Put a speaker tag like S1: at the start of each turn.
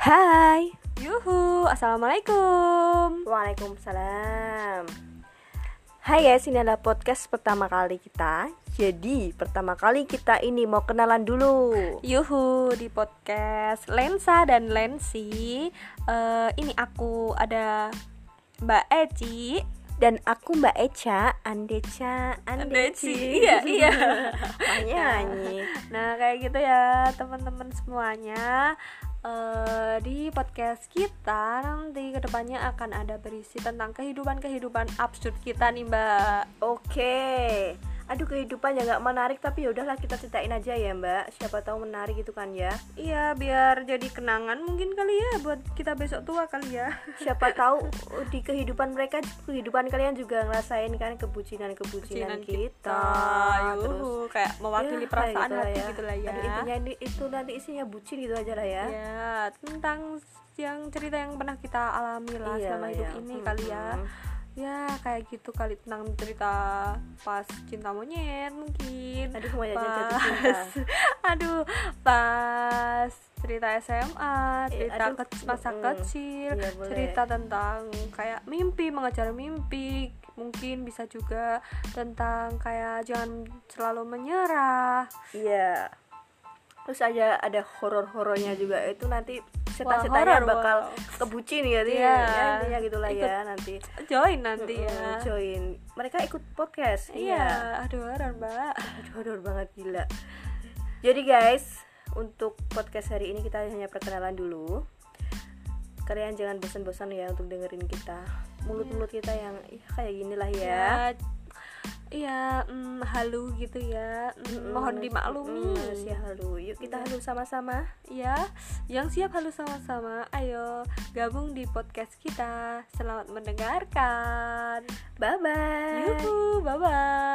S1: Hai. Yuhu, Assalamualaikum.
S2: Waalaikumsalam.
S1: Hai guys, ini adalah podcast pertama kali kita. Jadi, pertama kali kita ini mau kenalan dulu.
S2: Yuhu di podcast Lensa dan Lensi. Eh, ini aku ada Mbak Eci.
S1: Dan aku Mbak Eca, Andeca, Andeci.
S2: Iya, iya.
S1: Makanya nyanyi.
S2: Nah, kayak gitu ya, teman-teman semuanya. Eh, di podcast kita nanti kedepannya akan ada berisi tentang kehidupan-kehidupan absurd kita nih, Mbak.
S1: Oke. Aduh kehidupan yang gak menarik tapi yaudahlah kita ceritain aja ya mbak Siapa tahu menarik gitu kan ya
S2: Iya, biar jadi kenangan mungkin kali ya buat kita besok tua kali ya.
S1: Siapa tahu uh, di kehidupan mereka Kehidupan kalian juga ngerasain kan kebucinan-kebucinan
S2: Kecilan
S1: kita, Terus
S2: yuhu, kayak mewakili
S1: Ya,
S2: perasaan
S1: kayak
S2: hati
S1: lah
S2: gitu lah ya.
S1: Aduh, intinya ini- itu nanti isinya bucin gitu aja lah ya.
S2: Ya, tentang yang cerita yang pernah kita alami lah
S1: Iya
S2: selama
S1: lah
S2: hidup
S1: ya.
S2: ini
S1: Mm-mm.
S2: kali ya. Ya, kayak gitu kali tentang cerita pas cinta monyet mungkin.
S1: Aduh, mau aja
S2: pas,
S1: jatuh cinta.
S2: aduh, pas cerita SMA,
S1: Eh,
S2: cerita
S1: aduh,
S2: kec- masa
S1: mm-mm.
S2: kecil,
S1: Iya, boleh.
S2: cerita tentang kayak mimpi, mengejar mimpi, mungkin bisa juga tentang kayak jangan selalu menyerah.
S1: Iya. Terus ada ada horor-horornya juga. Itu nanti
S2: horor,
S1: cerita-ceritanya bakal
S2: wow.
S1: kebucin ya. Jadi
S2: Iya.
S1: ya intinya gitu lah ya
S2: Ikut
S1: nanti.
S2: Join nanti ya.
S1: Mm-mm, join. Mereka ikut podcast.
S2: Iya, aduh horor mbak
S1: Aduh, horor banget gila. Jadi guys, untuk podcast hari ini kita hanya perkenalan dulu. Kalian jangan bosan-bosan ya untuk dengerin kita. Mulut-mulut kita yang ya, kayak gini lah ya.
S2: Iya, mm, halu gitu ya Mm, Mohon dimaklumi Iya.
S1: Mm, ya halu. Yuk kita halu sama-sama.
S2: Ya, yang siap halu sama-sama Ayo, gabung di podcast kita Selamat mendengarkan
S1: Bye bye.
S2: Yuhu, bye-bye